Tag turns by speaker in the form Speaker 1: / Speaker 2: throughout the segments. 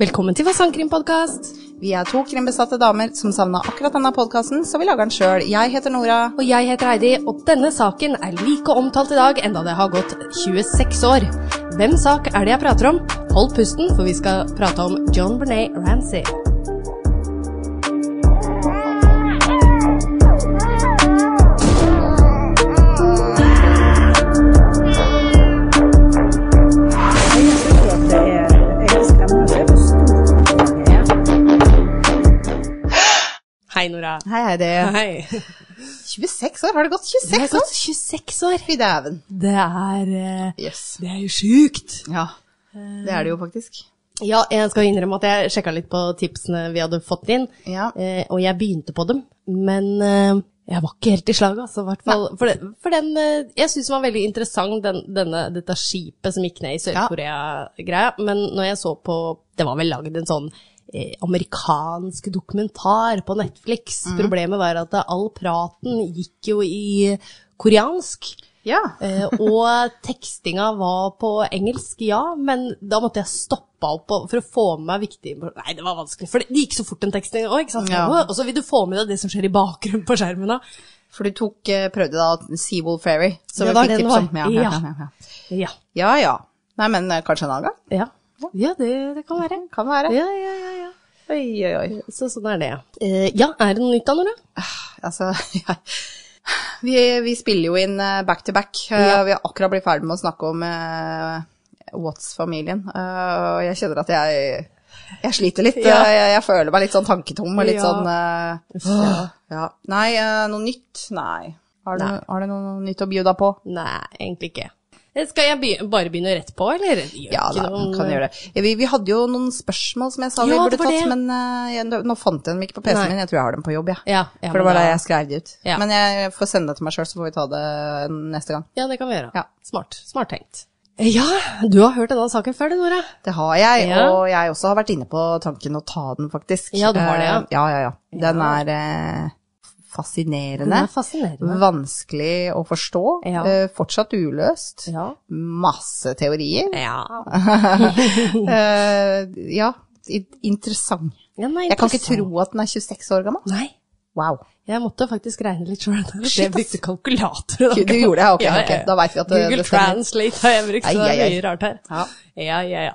Speaker 1: Velkommen til Fasankrim-podkast.
Speaker 2: Vi er to krimbesatte damer som savna akkurat denne podkasten, så vi lager den sjøl. Jeg heter Nora.
Speaker 1: Og jeg heter Heidi, og denne saken er like omtalt i dag enda det har gått 26 år. Hvem sak er det jeg prater om? Hold pusten, for vi skal prate om John Bernet Ramsey. Hei, Nora.
Speaker 2: Hei, Heidi.
Speaker 1: Hei.
Speaker 2: 26 år? Har det gått 26
Speaker 1: Det har
Speaker 2: år?
Speaker 1: gått 26 år.
Speaker 2: Fy dæven.
Speaker 1: Det er eh,
Speaker 2: Yes.
Speaker 1: Det er jo sjukt.
Speaker 2: Ja. Det er det jo faktisk.
Speaker 1: Ja, jeg skal innrømme at jeg sjekka litt på tipsene vi hadde fått inn,
Speaker 2: Ja.
Speaker 1: eh, og jeg begynte på dem, men eh, jeg var ikke helt i slaget, altså, i hvert fall. For, den- for den eh, Jeg syns den var veldig interessant, den, denne, dette skipet som gikk ned i Sør-Korea-greia, men når jeg så på Det var vel lagd en sånn eh, amerikansk dokumentar på Netflix. Problemet var at all praten gikk jo i koreansk.
Speaker 2: Ja.
Speaker 1: Eh, og tekstinga var på engelsk, ja, men da måtte jeg stoppe opp og- for å få med meg viktig info- Nei, det var vanskelig, for det det gikk så fort den teksten òg, ikke sant.
Speaker 2: Ja.
Speaker 1: Og så vil du få med deg det som skjer i bakgrunnen på skjermen da.
Speaker 2: For du tok, eh, prøvde da Seawall Ferry, som
Speaker 1: Det
Speaker 2: vi
Speaker 1: var
Speaker 2: fikk
Speaker 1: den
Speaker 2: tips om.
Speaker 1: var.
Speaker 2: Ja, ja, ja, ja.
Speaker 1: Ja.
Speaker 2: ja, ja. Nei, men eh, kanskje en annen gang?
Speaker 1: Ja, ja det, det kan være.
Speaker 2: Kan være.
Speaker 1: Ja, ja, ja, ja.
Speaker 2: Oi, oi, oi.
Speaker 1: Så sånn er det. Eh, ja, er det noe nytt da, Nora?
Speaker 2: Altså, jeg vi, vi spiller jo inn eh, back to back. eh,
Speaker 1: Ja.
Speaker 2: og Vi har akkurat blitt ferdig med å snakke om eh, Watts-familien. eh, og jeg kjenner at jeg, jeg sliter litt.
Speaker 1: Ja.
Speaker 2: eh, jeg, jeg føler meg litt sånn tanketom og litt
Speaker 1: Ja.
Speaker 2: sånn eh,
Speaker 1: ja.
Speaker 2: ja. Nei, eh, noe nytt? Nei. Har du,
Speaker 1: Nei.
Speaker 2: har du noe nytt å bjuda på?
Speaker 1: Nei, egentlig ikke. Eh, Skal jeg be bare begynne rett på, eller? Det gjør
Speaker 2: Ja,
Speaker 1: ikke
Speaker 2: da,
Speaker 1: noe om-
Speaker 2: kan jeg gjøre det. Vi, vi hadde jo noen spørsmål som jeg sa vi
Speaker 1: Ja, det
Speaker 2: burde
Speaker 1: var
Speaker 2: tatt,
Speaker 1: det.
Speaker 2: men eh, jeg, nå fant jeg dem ikke på PC-en
Speaker 1: Nei.
Speaker 2: min. Jeg tror jeg har dem på jobb, jeg.
Speaker 1: Ja, ja,
Speaker 2: For
Speaker 1: men
Speaker 2: det var
Speaker 1: da-
Speaker 2: da jeg skrev de ut.
Speaker 1: Ja.
Speaker 2: Men jeg får sende det til meg sjøl, så får vi ta det neste gang.
Speaker 1: Ja, det kan vi gjøre.
Speaker 2: Ja.
Speaker 1: Smart. Smart tenkt. Eh, Ja, du har hørt denne saken før, du, Nora.
Speaker 2: Det har jeg,
Speaker 1: Ja.
Speaker 2: og jeg også har vært inne på tanken å ta den, faktisk.
Speaker 1: Ja, du har det, ja.
Speaker 2: Eh, Ja, ja, ja. Den er eh,
Speaker 1: Den
Speaker 2: fascinerende.
Speaker 1: er fascinerende.
Speaker 2: Vanskelig å forstå.
Speaker 1: Ja.
Speaker 2: eh, Fortsatt uløst.
Speaker 1: Ja.
Speaker 2: Masse teorier.
Speaker 1: Ja.
Speaker 2: Eh, ja, i- interessant.
Speaker 1: nei,
Speaker 2: Jeg kan ikke
Speaker 1: interessant.
Speaker 2: tro at den er 26 år gammel.
Speaker 1: Nei.
Speaker 2: Wow.
Speaker 1: Jeg måtte faktisk regne litt sjøl. Jeg
Speaker 2: Shit, ass.
Speaker 1: brukte kalkulator. da.
Speaker 2: Du gjorde det? Ok,
Speaker 1: Ja, ja,
Speaker 2: ok.
Speaker 1: ja.
Speaker 2: Da vet vi at det,
Speaker 1: Google
Speaker 2: det stemmer.
Speaker 1: Translate har jeg brukt, så det
Speaker 2: Ai, ai,
Speaker 1: er
Speaker 2: ai.
Speaker 1: mye rart her.
Speaker 2: Ja.
Speaker 1: ja, ja. ja.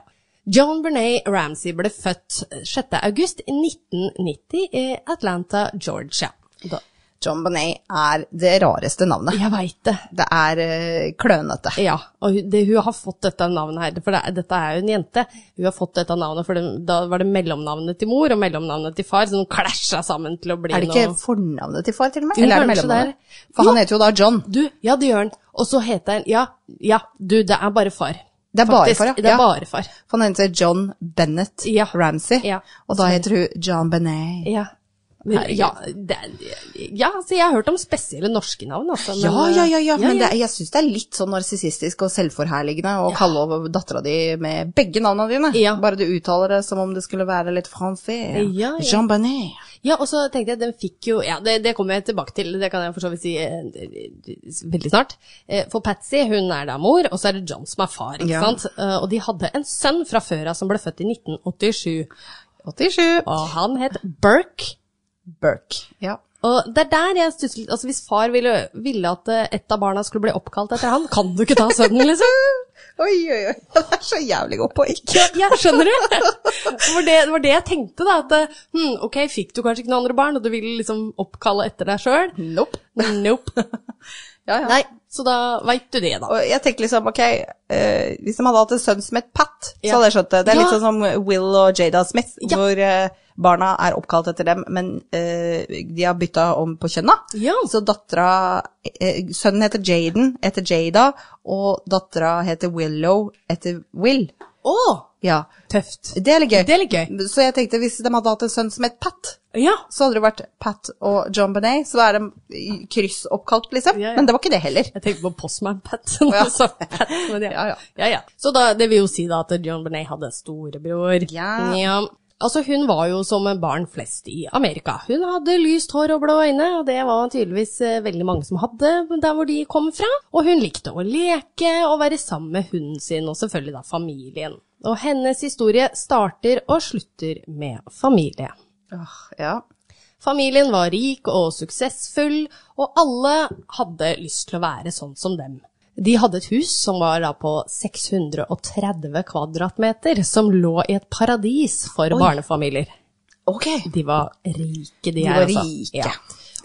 Speaker 1: John Bernet Ramsey ble født eh, 6.8.1990 i Atlanta, Georgia. Da,
Speaker 2: John Bonnet er det rareste navnet.
Speaker 1: jeg veit det.
Speaker 2: Det er eh, klønete.
Speaker 1: Ja, og hun- det, hun har fått dette navnet her, for det, er- dette er jo en jente. Hun har fått dette navnet, for det, da var det mellomnavnet til mor og mellomnavnet til far, så de klasja sammen til å bli
Speaker 2: Er det ikke
Speaker 1: noe
Speaker 2: fornavnet til far, til og med?
Speaker 1: Jo,
Speaker 2: Eller er det
Speaker 1: kanskje det
Speaker 2: mellomnavnet?
Speaker 1: er.
Speaker 2: For
Speaker 1: Jo.
Speaker 2: han heter jo da John.
Speaker 1: Du, ja, det gjør han. Og så heter han Ja, ja, du, det er bare far.
Speaker 2: Det er bare
Speaker 1: Faktisk,
Speaker 2: far, ja.
Speaker 1: Det er
Speaker 2: Ja.
Speaker 1: bare far.
Speaker 2: For han heter John Bennett
Speaker 1: Ja.
Speaker 2: Ramsey.
Speaker 1: Ja.
Speaker 2: Og da heter hun John Benet.
Speaker 1: Ja. Men, ja, det, er- ja, altså, jeg har hørt om spesielle norske navn, altså. men-
Speaker 2: Ja, ja, ja, ja, men
Speaker 1: ja.
Speaker 2: det er, jeg syns det er litt sånn narsissistisk og selvforherligende å kalle over dattera di med begge navnene dine.
Speaker 1: Ja.
Speaker 2: Bare du uttaler det som om det skulle være litt francais.
Speaker 1: Ja, ja.
Speaker 2: Jean Benet.
Speaker 1: Ja, og så tenkte jeg, den fikk jo Ja, det, det kommer jeg tilbake til, det kan jeg for så vidt si eh, veldig snart. Eh, For Patsy, hun er da mor, og så er det John som er far, ikke
Speaker 2: Ja.
Speaker 1: sant. Eh, Og de hadde en sønn fra før av som ble født i 1987,
Speaker 2: 87.
Speaker 1: og han het Burke.
Speaker 2: Burke. Ja.
Speaker 1: Og det er der jeg stusser litt. Altså, hvis far ville, ville at eh, et av barna skulle bli oppkalt etter han, kan du ikke ta sønnen, liksom?
Speaker 2: Oi, oi, oi. Han er så jævlig god på ikke.
Speaker 1: Ja, skjønner du? Det var det, det var det jeg tenkte, da. At eh, hm, ok, fikk du kanskje ikke noen andre barn, og du ville liksom oppkalle etter deg sjøl?
Speaker 2: Nope.
Speaker 1: Nope.
Speaker 2: Ja, ja.
Speaker 1: Nei, så da veit du det, da.
Speaker 2: Og jeg tenkte liksom, ok, eh, hvis de hadde hatt en sønn som het Pat,
Speaker 1: Ja.
Speaker 2: så hadde jeg skjønt det. Det er litt
Speaker 1: Ja.
Speaker 2: sånn som Will og Jada Smith,
Speaker 1: Ja.
Speaker 2: hvor eh, barna er oppkalt etter dem, men eh, de har bytta om på kjønna.
Speaker 1: Ja.
Speaker 2: Så dattera eh, Sønnen heter Jaden etter Jada, og dattera heter Willow etter Will.
Speaker 1: Å!
Speaker 2: Ja.
Speaker 1: Tøft.
Speaker 2: Det er litt gøy.
Speaker 1: Det er litt gøy.
Speaker 2: Så jeg tenkte hvis de hadde hatt en sønn som het Pat,
Speaker 1: Ja.
Speaker 2: så hadde det vært Pat og John Benet, så da er de kryssoppkalt, liksom.
Speaker 1: Ja, ja.
Speaker 2: Men det var ikke det heller.
Speaker 1: Jeg tenkte på Postman Pat. når
Speaker 2: Ja.
Speaker 1: du sa Pat, men ja.
Speaker 2: Ja, ja.
Speaker 1: Ja, ja. Så da, det vil jo si da at John Benet hadde en storebror.
Speaker 2: Ja.
Speaker 1: Altså, hun var jo som barn flest i Amerika. Hun hadde lyst hår og blå øyne, og det var tydeligvis eh, veldig mange som hadde der hvor de kom fra. Og hun likte å leke og være sammen med hunden sin, og selvfølgelig da familien. Og hennes historie starter og slutter med familie.
Speaker 2: Åh, ja.
Speaker 1: Familien var rik og suksessfull, og alle hadde lyst til å være sånn som dem. De hadde et hus som var da på 630 kvadratmeter, som lå i et paradis for barnefamilier.
Speaker 2: Ok.
Speaker 1: De var rike, de,
Speaker 2: De
Speaker 1: her,
Speaker 2: var
Speaker 1: altså.
Speaker 2: rike.
Speaker 1: Ja.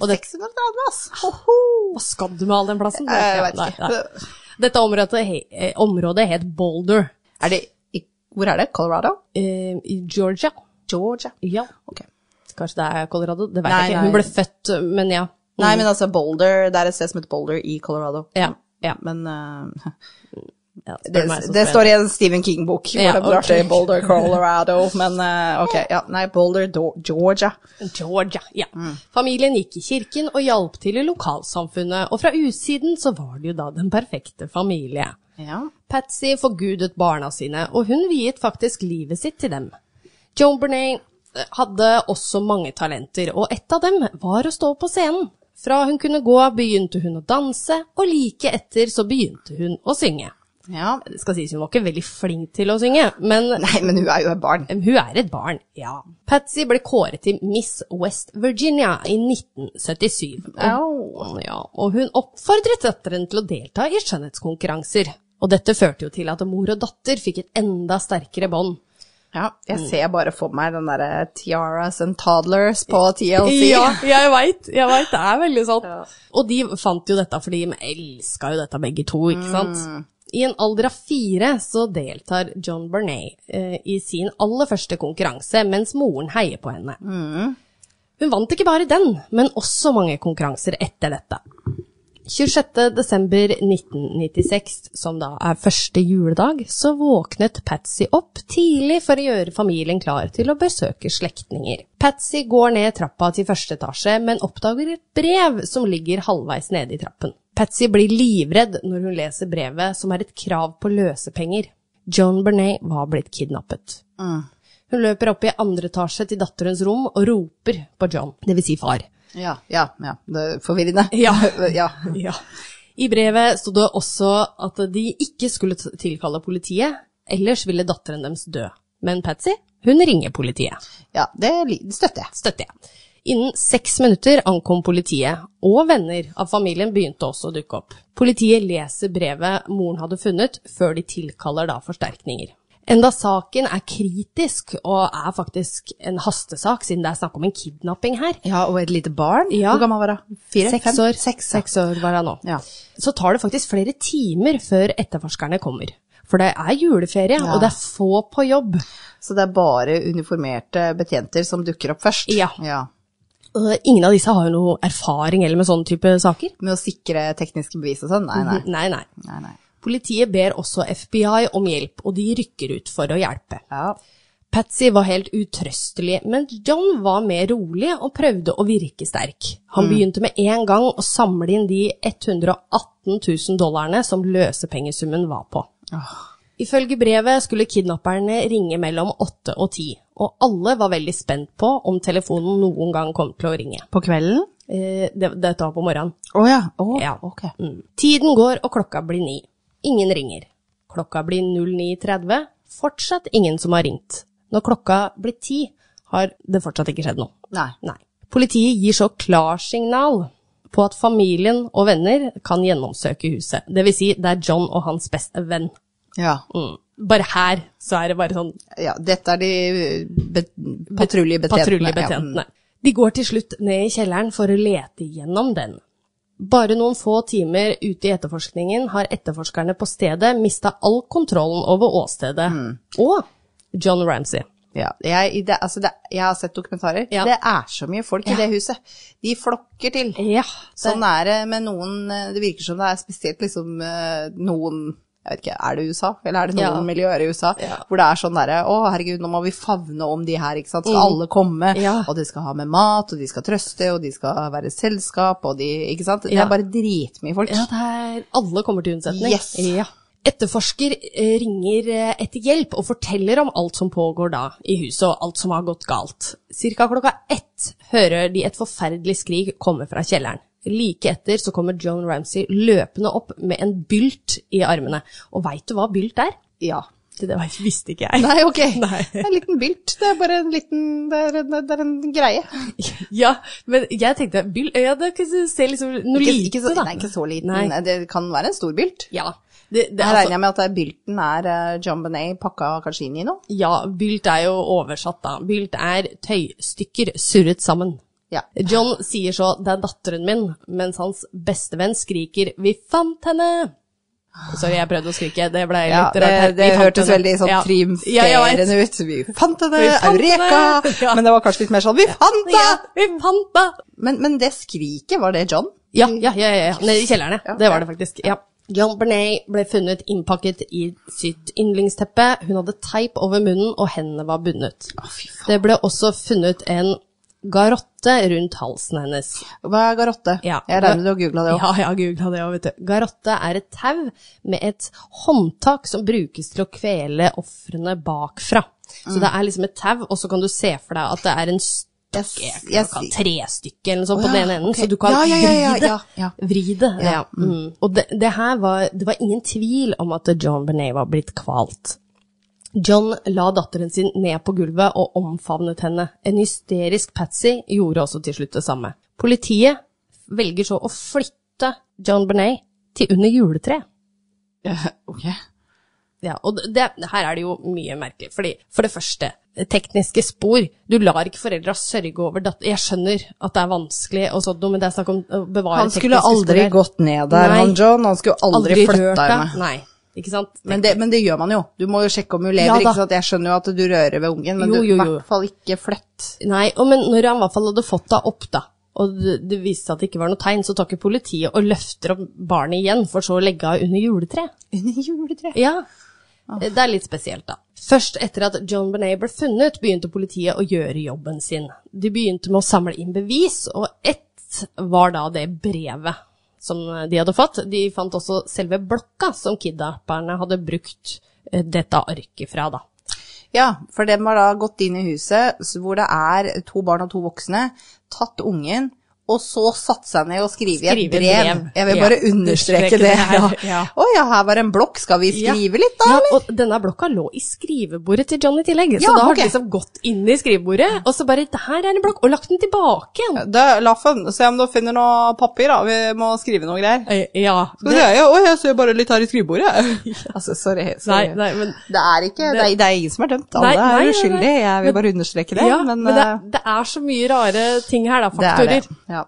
Speaker 1: Og det,
Speaker 2: 600 grader, ass.
Speaker 1: hva skal du med all den plassen?
Speaker 2: Jeg
Speaker 1: Ja,
Speaker 2: vet
Speaker 1: nei,
Speaker 2: ikke.
Speaker 1: nei. Dette området, he, eh, området het Boulder
Speaker 2: Er det, i- hvor er det? Colorado?
Speaker 1: eh, i Georgia. Mm.
Speaker 2: Georgia.
Speaker 1: Ja.
Speaker 2: Ok.
Speaker 1: Kanskje det er Colorado? Det vet
Speaker 2: Nei,
Speaker 1: jeg ikke.
Speaker 2: nei.
Speaker 1: Hun ble født, eh, men ja.
Speaker 2: Nei, men altså Boulder, det er et sted som heter Boulder i Colorado.
Speaker 1: Ja, ja.
Speaker 2: Men eh,
Speaker 1: ja spør
Speaker 2: det,
Speaker 1: meg, så
Speaker 2: det
Speaker 1: spør jeg.
Speaker 2: står i en Stephen King-bok hvor
Speaker 1: Ja,
Speaker 2: det drar
Speaker 1: ok.
Speaker 2: til Boulder, Colorado, men eh, ok, ja, nei, Boulder, Do- Georgia.
Speaker 1: Georgia, ja. Familien gikk i kirken og hjalp til i lokalsamfunnet, og fra utsiden så var det jo da den perfekte familie.
Speaker 2: Ja.
Speaker 1: Patsy forgudet barna sine, og hun viet faktisk livet sitt til dem. Joan Bernay hadde også mange talenter, og et av dem var å stå på scenen. Fra hun kunne gå, begynte hun å danse, og like etter så begynte hun å synge.
Speaker 2: ja.
Speaker 1: Det skal sies hun var ikke veldig flink til å synge, men
Speaker 2: Nei, men hun er jo et barn.
Speaker 1: hun er et barn, ja. Patsy ble kåret til Miss West Virginia i 1977. Og, ja, og hun oppfordret datteren til å delta i skjønnhetskonkurranser. Og dette førte jo til at mor og datter fikk et enda sterkere bånd.
Speaker 2: Ja,
Speaker 1: Mm.
Speaker 2: jeg ser bare for meg den derre Tiaras and Toddlers på TLC.
Speaker 1: Ja, jeg veit. Jeg vet, det er veldig sant. Og de fant jo dette, for de elska jo dette begge to, ikke sant. I en alder av fire så deltar John Bernay eh, i sin aller første konkurranse, mens moren heier på henne. Hun vant ikke bare den, men også mange konkurranser etter dette. 26.12.1996, som da er første juledag, så våknet Patsy opp tidlig for å gjøre familien klar til å besøke slektninger. Patsy går ned trappa til første etasje, men oppdager et brev som ligger halvveis nede i trappen. Patsy blir livredd når hun leser brevet, som er et krav på løsepenger. John Bernay var blitt kidnappet.
Speaker 2: Mm.
Speaker 1: Hun løper opp i andre etasje til datterens rom og roper på John, dvs. Si far.
Speaker 2: Ja, ja, ja. Det er forvirrende.
Speaker 1: Ja.
Speaker 2: ja.
Speaker 1: Ja. I brevet sto det også at de ikke skulle t- tilkalle politiet, ellers ville datteren deres dø. Men Patsy, hun ringer politiet.
Speaker 2: Ja, det li- støtter jeg.
Speaker 1: Støtter jeg. Innen seks minutter ankom politiet, og venner av familien begynte også å dukke opp. Politiet leser brevet moren hadde funnet, før de tilkaller da forsterkninger. Enda saken er kritisk, og er faktisk en hastesak, siden det er snakk om en kidnapping her.
Speaker 2: Ja, og et lite barn.
Speaker 1: Ja.
Speaker 2: Hvor gammel var hun? Fire?
Speaker 1: Seks
Speaker 2: fem?
Speaker 1: år.
Speaker 2: Seks, ja.
Speaker 1: Seks år var jeg nå.
Speaker 2: Ja.
Speaker 1: Så tar det faktisk flere timer før etterforskerne kommer. For det er juleferie, og det er få på jobb.
Speaker 2: Så det er bare uniformerte betjenter som dukker opp først?
Speaker 1: Ja. Og Ingen av disse har jo noe erfaring eller med sånne type saker.
Speaker 2: Med å sikre tekniske bevis og sånn? Nei, nei.
Speaker 1: Nei, nei.
Speaker 2: nei, nei.
Speaker 1: Politiet ber også FBI om hjelp, og de rykker ut for å hjelpe.
Speaker 2: Ja.
Speaker 1: Patsy var helt utrøstelig, men John var mer rolig og prøvde å virke sterk. Han begynte med en gang å samle inn de 118 000 dollarene som løsepengesummen var på. Ifølge brevet skulle kidnapperne ringe mellom åtte og ti, og alle var veldig spent på om telefonen noen gang kom til å ringe.
Speaker 2: På kvelden?
Speaker 1: Eh, det- Dette var på morgenen.
Speaker 2: Å ja. Å,
Speaker 1: Ja.
Speaker 2: ok.
Speaker 1: Mm. Tiden går, og klokka blir ni. Ingen ringer. Klokka blir 09.30. Fortsatt ingen som har ringt. Når klokka blir ti, har det fortsatt ikke skjedd noe.
Speaker 2: Nei.
Speaker 1: Nei. Politiet gir så klarsignal på at familien og venner kan gjennomsøke huset. Det vil si, det er John og hans beste venn.
Speaker 2: Ja.
Speaker 1: Mm. Bare her så er det bare sånn
Speaker 2: ja. Dette er de be patruljebetjentene. mm,
Speaker 1: patruljebetjentene. De går til slutt ned i kjelleren for å lete gjennom den. Bare noen få timer ute i etterforskningen har etterforskerne på stedet mista all kontrollen over åstedet. Og John Ramsay.
Speaker 2: Ja, jeg, det, altså det, jeg har sett dokumentarer.
Speaker 1: Ja.
Speaker 2: Det er så mye folk i det huset. De flokker til.
Speaker 1: Ja,
Speaker 2: Sånn er det med noen eh, Det virker som det er spesielt liksom eh, noen jeg vet ikke, Er det USA, eller er det noen
Speaker 1: Ja.
Speaker 2: miljøer i USA hvor det er sånn derre Å, herregud, nå må vi favne om de her, ikke sant. Skal alle komme,
Speaker 1: Mm. Ja.
Speaker 2: og de skal ha med mat, og de skal trøste, og de skal være selskap, og de Ikke sant. Det
Speaker 1: Ja.
Speaker 2: er bare dritmye folk.
Speaker 1: Ja, det er, alle kommer til unnsetning.
Speaker 2: Yes.
Speaker 1: Ja. Etterforsker eh, ringer eh, etter hjelp og forteller om alt som pågår da i huset, og alt som har gått galt. Cirka klokka ett hører de et forferdelig skrik komme fra kjelleren. Like etter så kommer John Ramsay løpende opp med en bylt i armene. Og veit du hva bylt er?
Speaker 2: Ja.
Speaker 1: til det var- visste ikke jeg.
Speaker 2: Nei, ok.
Speaker 1: Nei.
Speaker 2: Det er en liten bylt. Det er bare en liten Det er, en- det er en greie.
Speaker 1: Ja, men jeg tenkte byll, ja, det kan se liksom noe
Speaker 2: Ikke-
Speaker 1: lite,
Speaker 2: ikke så,
Speaker 1: da.
Speaker 2: Nei, ikke så liten.
Speaker 1: Nei.
Speaker 2: Det kan være en stor bylt.
Speaker 1: Ja, det, det,
Speaker 2: Jeg
Speaker 1: er
Speaker 2: regner
Speaker 1: altså,
Speaker 2: jeg med at det er bylten er uh, jambonet pakka kanskje inn i noe?
Speaker 1: ja, bylt er jo oversatt, da. Bylt er tøystykker surret sammen.
Speaker 2: Ja.
Speaker 1: John sier så 'det er datteren min', mens hans bestevenn skriker 'vi fant henne'. Sorry, jeg prøvde å skrike, det ble litt
Speaker 2: Ja,
Speaker 1: rart.
Speaker 2: det,
Speaker 1: her.
Speaker 2: det
Speaker 1: Vi fant
Speaker 2: hørtes
Speaker 1: henne.
Speaker 2: veldig sånn
Speaker 1: Ja. Ja, jeg vet.
Speaker 2: triumferende ut. Vi fant henne,
Speaker 1: Vi fant henne!
Speaker 2: eureka!
Speaker 1: Ja.
Speaker 2: Men det var kanskje litt mer sånn vi fant henne!
Speaker 1: Ja, vi fant henne!
Speaker 2: Men, men det skriket, var det John?
Speaker 1: Ja, ja, ja, ja, ja. nede i kjelleren, Mm. ja.
Speaker 2: Ja,
Speaker 1: Det var
Speaker 2: ja.
Speaker 1: det faktisk. Ja. John Bernay ble funnet innpakket i sitt yndlingsteppe. Hun hadde teip over munnen, og hendene var bundet. Det ble også funnet en garotte rundt halsen hennes.
Speaker 2: Hva er garotte?
Speaker 1: Ja.
Speaker 2: Jeg regner med du har googla det òg.
Speaker 1: Ja, jeg har googla det òg, vet du. Garotte er et tau med et håndtak som brukes til å kvele ofrene bakfra. Så det er liksom et tau, og så kan du se for deg at det er en
Speaker 2: Jeg
Speaker 1: stokk,
Speaker 2: s-
Speaker 1: jeg
Speaker 2: jeg
Speaker 1: kan
Speaker 2: s-
Speaker 1: tre stykker eller noe sånt
Speaker 2: Å
Speaker 1: på
Speaker 2: ja,
Speaker 1: den ene enden,
Speaker 2: ok.
Speaker 1: så du kan
Speaker 2: Ja, ja, ja, ja,
Speaker 1: vri det.
Speaker 2: ja, ja.
Speaker 1: Vri det, ja. Mm. Og det, det her var Det var ingen tvil om at John Benet var blitt kvalt. John la datteren sin ned på gulvet og omfavnet henne. En hysterisk Patsy gjorde også til slutt det samme. Politiet velger så å flytte John Benet til under juletreet. Ja, og det, her er det jo mye merkelig. Fordi, for det første, eh, tekniske spor. Du lar ikke foreldra sørge over datter... Jeg skjønner at det er vanskelig og sånt noe, men det er snakk om å bevare
Speaker 2: Han skulle aldri
Speaker 1: spor her.
Speaker 2: gått sånn, ned der,
Speaker 1: Nei.
Speaker 2: han John. Han skulle aldri,
Speaker 1: Aldri rørt
Speaker 2: flytta
Speaker 1: deg.
Speaker 2: henne.
Speaker 1: Nei, ikke sant?
Speaker 2: Men det, men det gjør man jo. Du må jo sjekke om hun lever.
Speaker 1: Ja, da.
Speaker 2: ikke sant? Jeg skjønner jo at du rører ved ungen, men
Speaker 1: Jo,
Speaker 2: du
Speaker 1: jo,
Speaker 2: i
Speaker 1: jo.
Speaker 2: hvert fall ikke flytt.
Speaker 1: Nei, og men når han i hvert fall hadde fått deg opp, da, og det, det viste seg at det ikke var noe tegn, så tar ikke politiet og løfter opp barnet igjen, for så å legge av under juletreet.
Speaker 2: Under juletreet.
Speaker 1: Ja. Det er litt spesielt, da. Først etter at John Benet ble funnet, begynte politiet å gjøre jobben sin. De begynte med å samle inn bevis, og ett var da det brevet som de hadde fått. De fant også selve blokka som kidnapperne hadde brukt eh, dette arket fra, da.
Speaker 2: Ja, for de har da gått inn i huset s- hvor det er to barn og to voksne, tatt ungen, og så satt seg ned og skrive i et
Speaker 1: Skrive
Speaker 2: brev.
Speaker 1: brev.
Speaker 2: Jeg vil
Speaker 1: Ja.
Speaker 2: bare understreke
Speaker 1: Understreke
Speaker 2: det.
Speaker 1: det her,
Speaker 2: Ja.
Speaker 1: ja.
Speaker 2: Å ja, her var en blokk, skal vi skrive litt da,
Speaker 1: Ja,
Speaker 2: eller?
Speaker 1: og denne blokka lå i skrivebordet til John i tillegg, så
Speaker 2: Ja,
Speaker 1: da har
Speaker 2: ok.
Speaker 1: han liksom gått inn i skrivebordet, og så bare 'her er en blokk', og lagt den tilbake igjen.
Speaker 2: Da, Laffen, se om du finner noe papir, da. Vi må skrive noe greier.
Speaker 1: Eh, Ja.
Speaker 2: Skal vi se, ja, oi, jeg ser bare litt her i skrivebordet. altså, sorry. sorry.
Speaker 1: Nei, nei, men
Speaker 2: Det er ikke, det, er, det er ingen som er dømt. Alle
Speaker 1: Nei, nei,
Speaker 2: er
Speaker 1: nei,
Speaker 2: uskyldige,
Speaker 1: nei.
Speaker 2: jeg vil bare understreke det.
Speaker 1: ja,
Speaker 2: men,
Speaker 1: men det,
Speaker 2: eh,
Speaker 1: det er så mye rare ting her, da.
Speaker 2: det er
Speaker 1: Faktorer.
Speaker 2: det. Ja.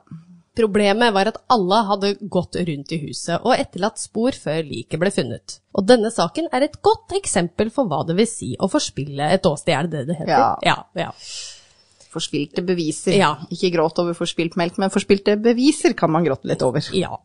Speaker 1: Problemet var at alle hadde gått rundt i huset og etterlatt spor før liket ble funnet. Og denne saken er et godt eksempel for hva det vil si å forspille et åsted, er det det det heter?
Speaker 2: Ja.
Speaker 1: ja, ja.
Speaker 2: Forspilte beviser.
Speaker 1: Ja.
Speaker 2: Ikke gråt over forspilt melk, men forspilte beviser kan man gråte litt over.
Speaker 1: Ja.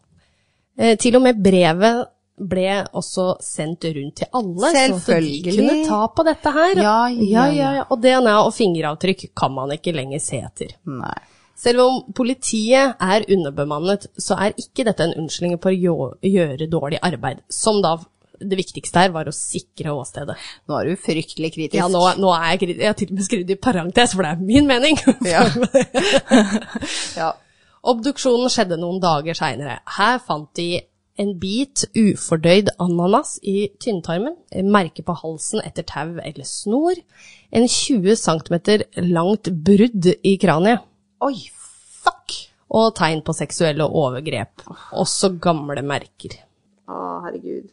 Speaker 1: Eh, til og med brevet ble også sendt rundt til alle, sånn at de
Speaker 2: Selvfølgelig.
Speaker 1: kunne ta på dette her.
Speaker 2: Ja, ja, ja.
Speaker 1: Og DNA og fingeravtrykk kan man ikke lenger se etter.
Speaker 2: Nei.
Speaker 1: Selv om politiet er underbemannet, så er ikke dette en unnskyldning for å gjø- gjøre dårlig arbeid, som da det viktigste her var å sikre åstedet.
Speaker 2: Nå er du fryktelig kritisk.
Speaker 1: Ja, nå, nå er jeg, kri- jeg har til og med skrevet i parentes, for det er min mening.
Speaker 2: Ja. Ja.
Speaker 1: Obduksjonen skjedde noen dager seinere. Her fant de en bit ufordøyd ananas i tynntarmen, merke på halsen etter tau eller snor, en 20 cm langt brudd i kraniet
Speaker 2: Oi, fuck!
Speaker 1: og tegn på seksuelle overgrep, også gamle merker.
Speaker 2: Å, herregud.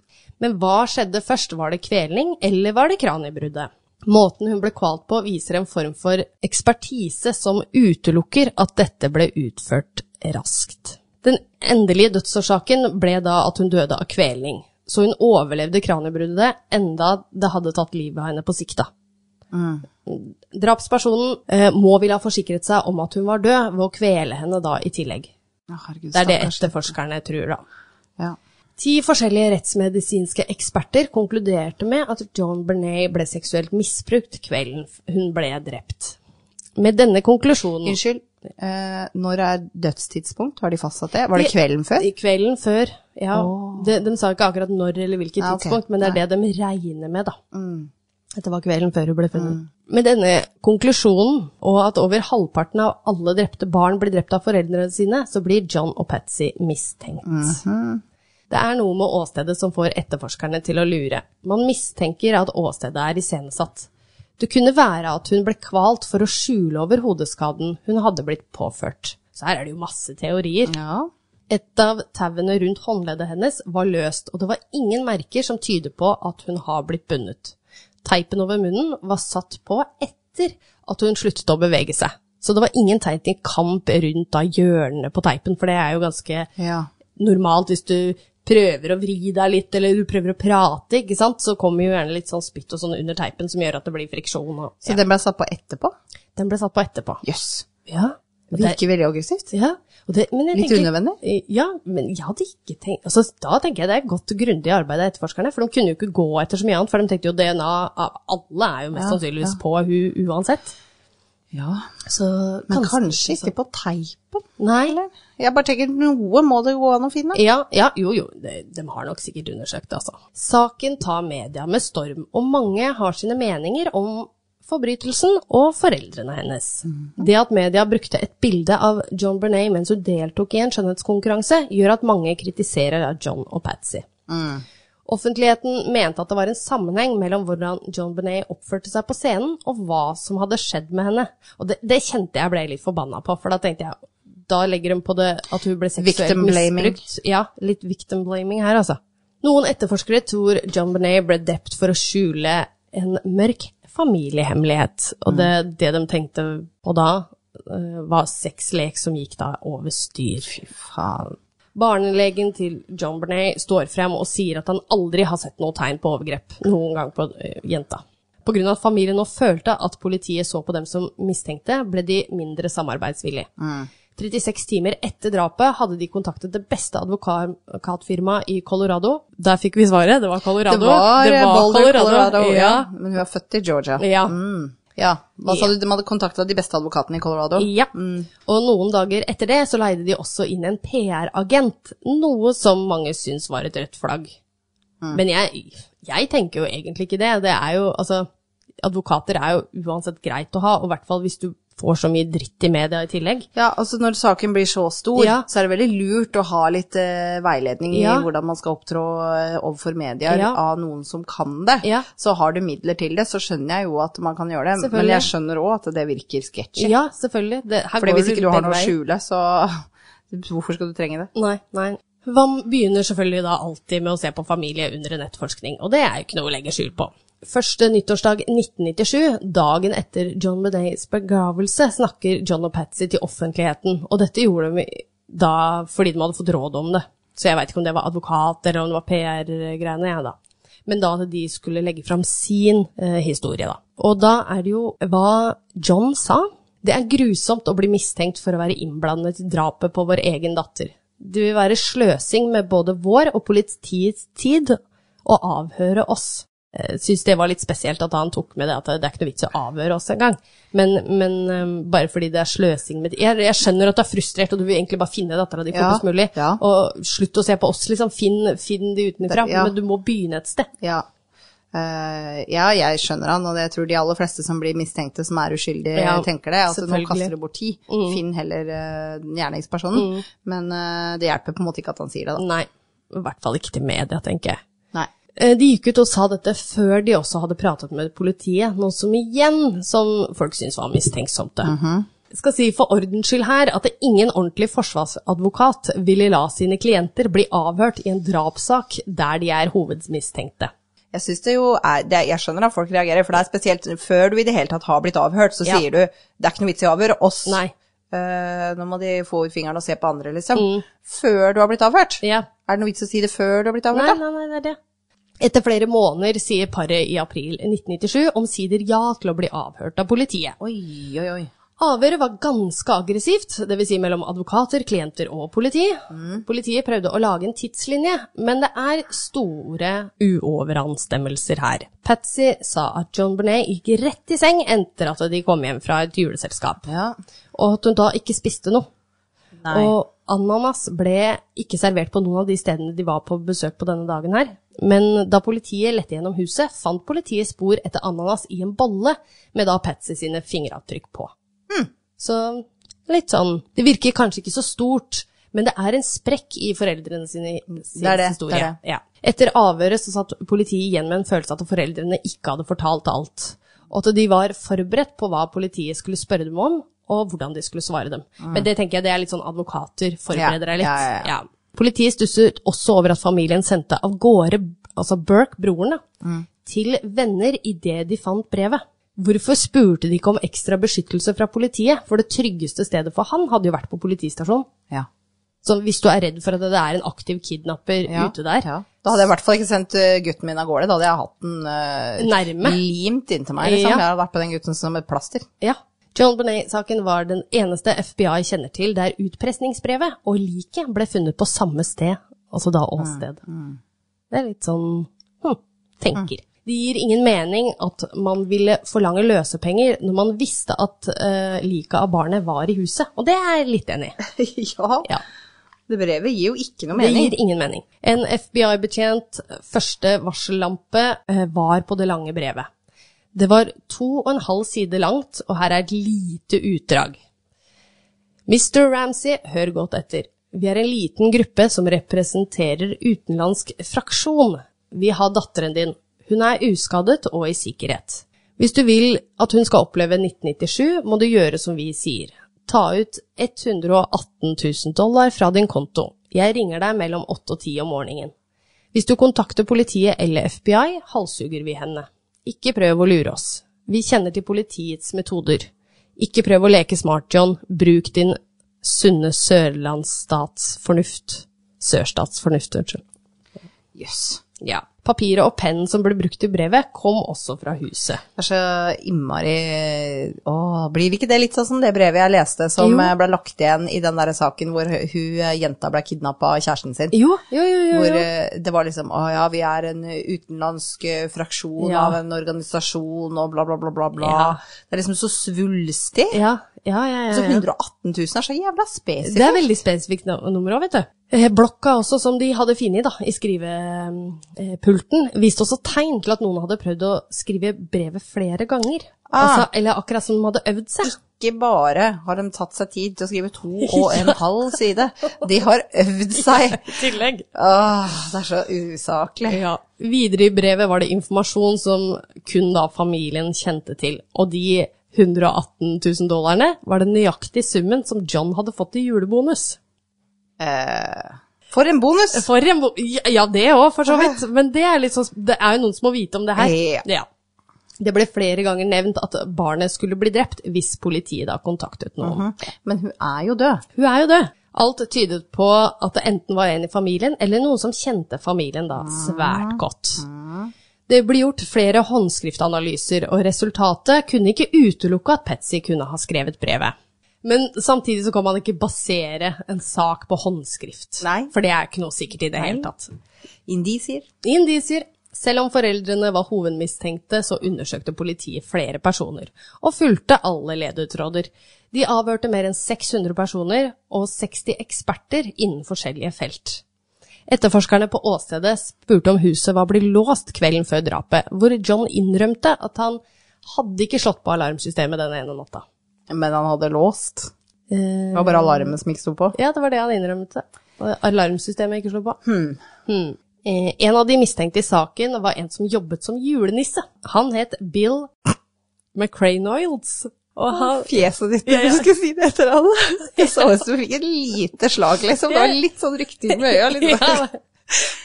Speaker 1: Men hva skjedde først? Var det kvelning, eller var det kranibruddet? Måten hun ble kvalt på viser en form for ekspertise som utelukker at dette ble utført raskt. Den endelige dødsårsaken ble da at hun døde av kvelning, så hun overlevde kranibruddet enda det hadde tatt livet av henne på sikt. da.
Speaker 2: Mm.
Speaker 1: Drapspersonen eh, må ville ha forsikret seg om at hun var død, ved å kvele henne da i tillegg.
Speaker 2: Å, herregud,
Speaker 1: Det er det
Speaker 2: stakkars.
Speaker 1: etterforskerne tror, da.
Speaker 2: Ja.
Speaker 1: Ti forskjellige rettsmedisinske eksperter konkluderte med at John Bernay ble seksuelt misbrukt kvelden f- hun ble drept. Med denne konklusjonen
Speaker 2: Unnskyld, eh, når er dødstidspunkt? Har de fastsatt det? Var det kvelden før?
Speaker 1: I kvelden før, ja. De, de sa ikke akkurat når eller hvilket
Speaker 2: Ja, Ah, ok. Mm.
Speaker 1: tidspunkt, men det er det de regner med, da. Dette var kvelden før hun ble funnet. Med denne konklusjonen, og at over halvparten av alle
Speaker 2: Mhm.
Speaker 1: drepte barn blir drept av foreldrene sine, så blir John og Patsy mistenkt. Det er noe med åstedet som får etterforskerne til å lure. Man mistenker at åstedet er iscenesatt. Det kunne være at hun ble kvalt for å skjule over hodeskaden hun hadde blitt påført. Så her er det jo masse teorier.
Speaker 2: Ja.
Speaker 1: Et av tauene rundt håndleddet hennes var løst, og det var ingen merker som tyder på at hun har blitt bundet. Teipen over munnen var satt på etter at hun sluttet å bevege seg. Så det var ingen tegn til kamp rundt da hjørnene på teipen, for det er jo ganske
Speaker 2: ja.
Speaker 1: normalt hvis du prøver å vri deg litt, eller du prøver å prate, ikke sant, så kommer jo gjerne litt sånn spytt og sånn under teipen som gjør at det blir friksjon. Og,
Speaker 2: Så den ble satt på etterpå?
Speaker 1: Den ble satt på etterpå.
Speaker 2: Jøss.
Speaker 1: Ja. Og det,
Speaker 2: Virker veldig aggressivt.
Speaker 1: ja. Og det, men jeg
Speaker 2: Litt
Speaker 1: tenker,
Speaker 2: unødvendig?
Speaker 1: Ja, men jeg hadde ikke tenkt altså, Da tenker jeg det er godt grundig arbeid av etterforskerne, for de kunne jo ikke gå etter så mye annet, for de tenkte jo DNA av alle er jo mest
Speaker 2: Ja,
Speaker 1: sannsynligvis
Speaker 2: ja.
Speaker 1: på hun uansett.
Speaker 2: Ja.
Speaker 1: Så
Speaker 2: Men kanskje ikke på teipen?
Speaker 1: Nei.
Speaker 2: Jeg bare tenker, noe må det gå an å finne.
Speaker 1: Ja, ja, jo jo, de, de har nok sikkert undersøkt, altså. Saken tar media med storm, og mange har sine meninger om forbrytelsen og foreldrene hennes.
Speaker 2: Mhm.
Speaker 1: Det at media brukte et bilde av John Bernay mens hun deltok i en skjønnhetskonkurranse, gjør at mange kritiserer av John og Patsy.
Speaker 2: Mm.
Speaker 1: Offentligheten mente at det var en sammenheng mellom hvordan John Benet oppførte seg på scenen, og hva som hadde skjedd med henne. Og det, det kjente jeg ble litt forbanna på, for da tenkte jeg Da legger hun på det at hun ble seksuelt
Speaker 2: Victim blaming.
Speaker 1: misbrukt. Ja, litt victim blaming her, altså. Noen etterforskere tror John Benet ble drept for å skjule en mørk familiehemmelighet. Og det, det de tenkte på da, eh, var sexlek som gikk da over styr. Fy
Speaker 2: Faen.
Speaker 1: Barnelegen til John Bernay står frem og sier at han aldri har sett noe tegn på overgrep noen gang på eh, jenta. På grunn av at familien nå følte at politiet så på dem som mistenkte, ble de mindre samarbeidsvillige.
Speaker 2: Mm.
Speaker 1: 36 timer etter drapet hadde de kontaktet det beste advoka- advokatfirmaet i Colorado. Der fikk vi svaret, det var Colorado.
Speaker 2: Det var, eh, Boulder, Colorado. ja.
Speaker 1: ja.
Speaker 2: Men hun er født i Georgia.
Speaker 1: Ja.
Speaker 2: Mm. ja. Hva sa du, de hadde kontakta de beste advokatene i Colorado?
Speaker 1: Ja. Og noen dager etter det så leide de også inn en PR-agent, noe som mange syns var et rødt flagg. Men jeg, jeg tenker jo egentlig ikke det. Det er jo, altså, advokater er jo uansett greit å ha, og i hvert fall hvis du får så mye dritt i media i tillegg.
Speaker 2: Ja, altså når saken blir så stor,
Speaker 1: Ja.
Speaker 2: så er det veldig lurt å ha litt eh, veiledning
Speaker 1: Ja.
Speaker 2: i hvordan man skal opptrå eh, overfor medier
Speaker 1: Ja.
Speaker 2: av noen som kan det.
Speaker 1: Ja.
Speaker 2: Så har du midler til det, så skjønner jeg jo at man kan gjøre det. Men
Speaker 1: Selvfølgelig.
Speaker 2: jeg skjønner òg at det virker sketchy.
Speaker 1: Ja, selvfølgelig. Det, her
Speaker 2: Fordi
Speaker 1: går
Speaker 2: hvis
Speaker 1: det
Speaker 2: ikke du har
Speaker 1: begge
Speaker 2: noe å
Speaker 1: veier.
Speaker 2: skjule, så hvorfor skal du trenge det?
Speaker 1: Nei, nei. Vam begynner selvfølgelig da alltid med å se på familie under en etterforskning, og det er jo ikke noe å legge skjul på. Første nyttårsdag 1997, dagen etter John Bedays begravelse, snakker John og Patsy til offentligheten, og dette gjorde de da fordi de hadde fått råd om det. Så jeg veit ikke om det var advokat eller om det var PR-greiene, jeg da. Men da at de skulle legge fram sin eh, historie, da. Og da er det jo hva John sa. Det er grusomt å bli mistenkt for å være innblandet i drapet på vår egen datter. Det vil være sløsing med både vår og politiets tid å avhøre oss. Jeg syns det var litt spesielt at han tok med det at det er ikke noe vits i å avhøre oss engang. Men, men eh, bare fordi det er sløsing med jeg, jeg skjønner at du er frustrert, og du vil egentlig bare finne dattera di
Speaker 2: Ja,
Speaker 1: fortest mulig.
Speaker 2: ja.
Speaker 1: Og slutt å se på oss, liksom. Finn, finn de utenfra.
Speaker 2: Ja.
Speaker 1: Men du må begynne et sted.
Speaker 2: Ja. Eh, ja, jeg skjønner han, og jeg tror de aller fleste som blir mistenkte som er uskyldige,
Speaker 1: Ja,
Speaker 2: tenker det. Altså, nå
Speaker 1: selvfølgelig. Mm.
Speaker 2: kaster du bort tid. Finn heller eh, gjerningspersonen. Men eh, det hjelper på en måte ikke at han sier det, da.
Speaker 1: Nei, i hvert fall ikke til media, tenker jeg.
Speaker 2: Nei.
Speaker 1: Eh, De gikk ut og sa dette før de også hadde pratet med politiet, noe som igjen som folk syntes var mistenksomt. Jeg Skal si for ordens skyld her at det ingen ordentlig forsvarsadvokat ville la sine klienter bli avhørt i en drapssak der de er hovedmistenkte.
Speaker 2: Jeg synes det jo er, det, jeg skjønner at folk reagerer, for det er spesielt før du i det hele tatt har blitt avhørt, så
Speaker 1: Ja.
Speaker 2: sier du det er ikke noe vits i å avhøre oss.
Speaker 1: Nei.
Speaker 2: Eh, nå må de få ut fingeren og se på andre, liksom. Før du har blitt avhørt.
Speaker 1: Mm. Ja.
Speaker 2: Er det noe vits i å si det før du har blitt avhørt,
Speaker 1: Nei,
Speaker 2: da?
Speaker 1: nei, nei, det er det. Etter flere måneder sier paret i april 1997 omsider ja til å bli avhørt av politiet.
Speaker 2: Oi, oi, oi.
Speaker 1: Avhøret var ganske aggressivt, dvs. Si mellom advokater, klienter og politi. Politiet prøvde å lage en tidslinje, men det er store uoverensstemmelser her. Patsy sa at John Bernet gikk rett i seng etter at de kom hjem fra et juleselskap,
Speaker 2: Ja.
Speaker 1: og at hun da ikke spiste noe.
Speaker 2: Nei.
Speaker 1: Og ananas ble ikke servert på noen av de stedene de var på besøk på denne dagen her. Men da politiet lette gjennom huset, fant politiet spor etter ananas i en bolle med da Patsy sine fingeravtrykk på. Så litt sånn Det virker kanskje ikke så stort, Men det er en sprekk i foreldrene sine sin
Speaker 2: Det er det,
Speaker 1: historie.
Speaker 2: det er
Speaker 1: Ja. Etter avhøret så satt politiet igjen med en følelse av at foreldrene ikke hadde fortalt alt, og at de var forberedt på hva politiet skulle spørre dem om, og hvordan de skulle svare dem.
Speaker 2: Mm.
Speaker 1: Men det tenker jeg det er litt sånn advokater forbereder deg litt.
Speaker 2: Ja, ja, ja.
Speaker 1: Politiet stusset også over at familien sendte av gårde, altså Burke, broren, da,
Speaker 2: Mm.
Speaker 1: til venner idet de fant brevet. Hvorfor spurte de ikke om ekstra beskyttelse fra politiet? For det tryggeste stedet for han hadde jo vært på politistasjonen.
Speaker 2: Ja.
Speaker 1: Så hvis du er redd for at det er en aktiv kidnapper
Speaker 2: Ja,
Speaker 1: ute der,
Speaker 2: Da hadde jeg i hvert fall ikke sendt eh, gutten min av gårde. Da hadde jeg hatt den eh,
Speaker 1: Nærme.
Speaker 2: limt inntil meg. Liksom.
Speaker 1: Ja.
Speaker 2: Jeg hadde vært på den gutten som et plaster.
Speaker 1: Ja. John Bonet-saken var den eneste FBI kjenner til der utpressningsbrevet og liket ble funnet på samme sted, altså da åsted. Det er litt sånn hm, tenker. Det gir ingen mening at man ville forlange løsepenger når man visste at uh, liket av barnet var i huset, og det er jeg litt enig i.
Speaker 2: ja.
Speaker 1: Ja.
Speaker 2: Det brevet gir jo ikke noe
Speaker 1: Det
Speaker 2: mening.
Speaker 1: gir ingen mening. En FBI-betjent første varsellampe eh, var på det lange brevet. Det var to og en halv side langt, og her er et lite utdrag. Mr. Ramsey, hør godt etter. Vi er en liten gruppe som representerer utenlandsk fraksjon. Vi har datteren din. Hun er uskadet og i sikkerhet. Hvis du vil at hun skal oppleve 1997, må du gjøre som vi sier. Ta ut 118 000 dollar fra din konto. Jeg ringer deg mellom 8 og 10 om morgenen. Hvis du kontakter politiet eller FBI, halshugger vi henne. Ikke prøv å lure oss. Vi kjenner til politiets metoder. Ikke prøv å leke smart, John. Bruk din sunne sørlandsstatsfornuft. Sørstatsfornuft, unnskyld.
Speaker 2: Jøss.
Speaker 1: Ja. Papiret og pennen som ble brukt i brevet, kom også fra huset.
Speaker 2: Det er så innmari Åh, blir ikke det litt sånn som det brevet jeg leste som
Speaker 1: Jo.
Speaker 2: eh, ble lagt igjen i den derre saken hvor hun eh, jenta ble kidnappa av kjæresten sin?
Speaker 1: Jo, jo, jo. jo,
Speaker 2: Hvor
Speaker 1: jo.
Speaker 2: eh, det var liksom å ja, vi er en utenlandsk eh, fraksjon
Speaker 1: Ja.
Speaker 2: av en organisasjon og bla, bla, bla, bla, bla.
Speaker 1: Ja.
Speaker 2: Det er liksom så svulstig.
Speaker 1: Ja, ja, ja.
Speaker 2: Så
Speaker 1: ja, ja.
Speaker 2: 118 000 er så jævla spesifikt.
Speaker 1: Det er veldig spesifikt nu- nummer òg, vet du. Eh, Blokka også som de hadde funnet da, i skrivepulten, viste også tegn til at noen hadde prøvd å skrive brevet flere ganger.
Speaker 2: Ah.
Speaker 1: Altså, eller akkurat som de hadde øvd seg.
Speaker 2: Ikke bare har de tatt seg tid til å skrive to og en halv side, de har øvd seg.
Speaker 1: tillegg.
Speaker 2: Åh, det er så usaklig.
Speaker 1: Ja. Videre i brevet var det informasjon som kun da familien kjente til, og de 118 000 dollarene var den nøyaktige summen som John hadde fått i julebonus.
Speaker 2: Eh, for en bonus!
Speaker 1: For en, bo- ja, ja, det òg, for så vidt. Men det er, litt sånn- det er jo noen som må vite om det her.
Speaker 2: Ja.
Speaker 1: Det ble flere ganger nevnt at barnet skulle bli drept hvis politiet da kontaktet noen.
Speaker 2: Mhm. Men hun er jo død.
Speaker 1: Hun er jo død. Alt tydet på at det enten var en i familien, eller noen som kjente familien da
Speaker 2: Mhm.
Speaker 1: svært godt. Det ble gjort flere håndskriftanalyser, og resultatet kunne ikke utelukke at Patsy kunne ha skrevet brevet. Men samtidig så kan man ikke basere en sak på håndskrift,
Speaker 2: Nei.
Speaker 1: for det er ikke noe sikkert i det hele tatt.
Speaker 2: Indisier.
Speaker 1: Indisier. Selv om foreldrene var hovedmistenkte, så undersøkte politiet flere personer, og fulgte alle ledetråder. De avhørte mer enn 600 personer og 60 eksperter innen forskjellige felt. Etterforskerne på åstedet spurte om huset var blitt låst kvelden før drapet, hvor John innrømte at han hadde ikke slått på alarmsystemet den ene natta.
Speaker 2: Men han hadde låst.
Speaker 1: Eh,
Speaker 2: Det var bare alarmen som ikke sto på.
Speaker 1: ja, det var det han innrømte. Alarmsystemet ikke slo på. Hmm. Eh, en av de mistenkte i saken var en som jobbet som julenisse. Han het Bill McCranoilds. Og han,
Speaker 2: Fjeset ditt når du skulle si det etter han. Jeg så ut som du fikk et lite slag, liksom. Det var litt sånn rykting med øya. Litt. sånn.
Speaker 1: ja,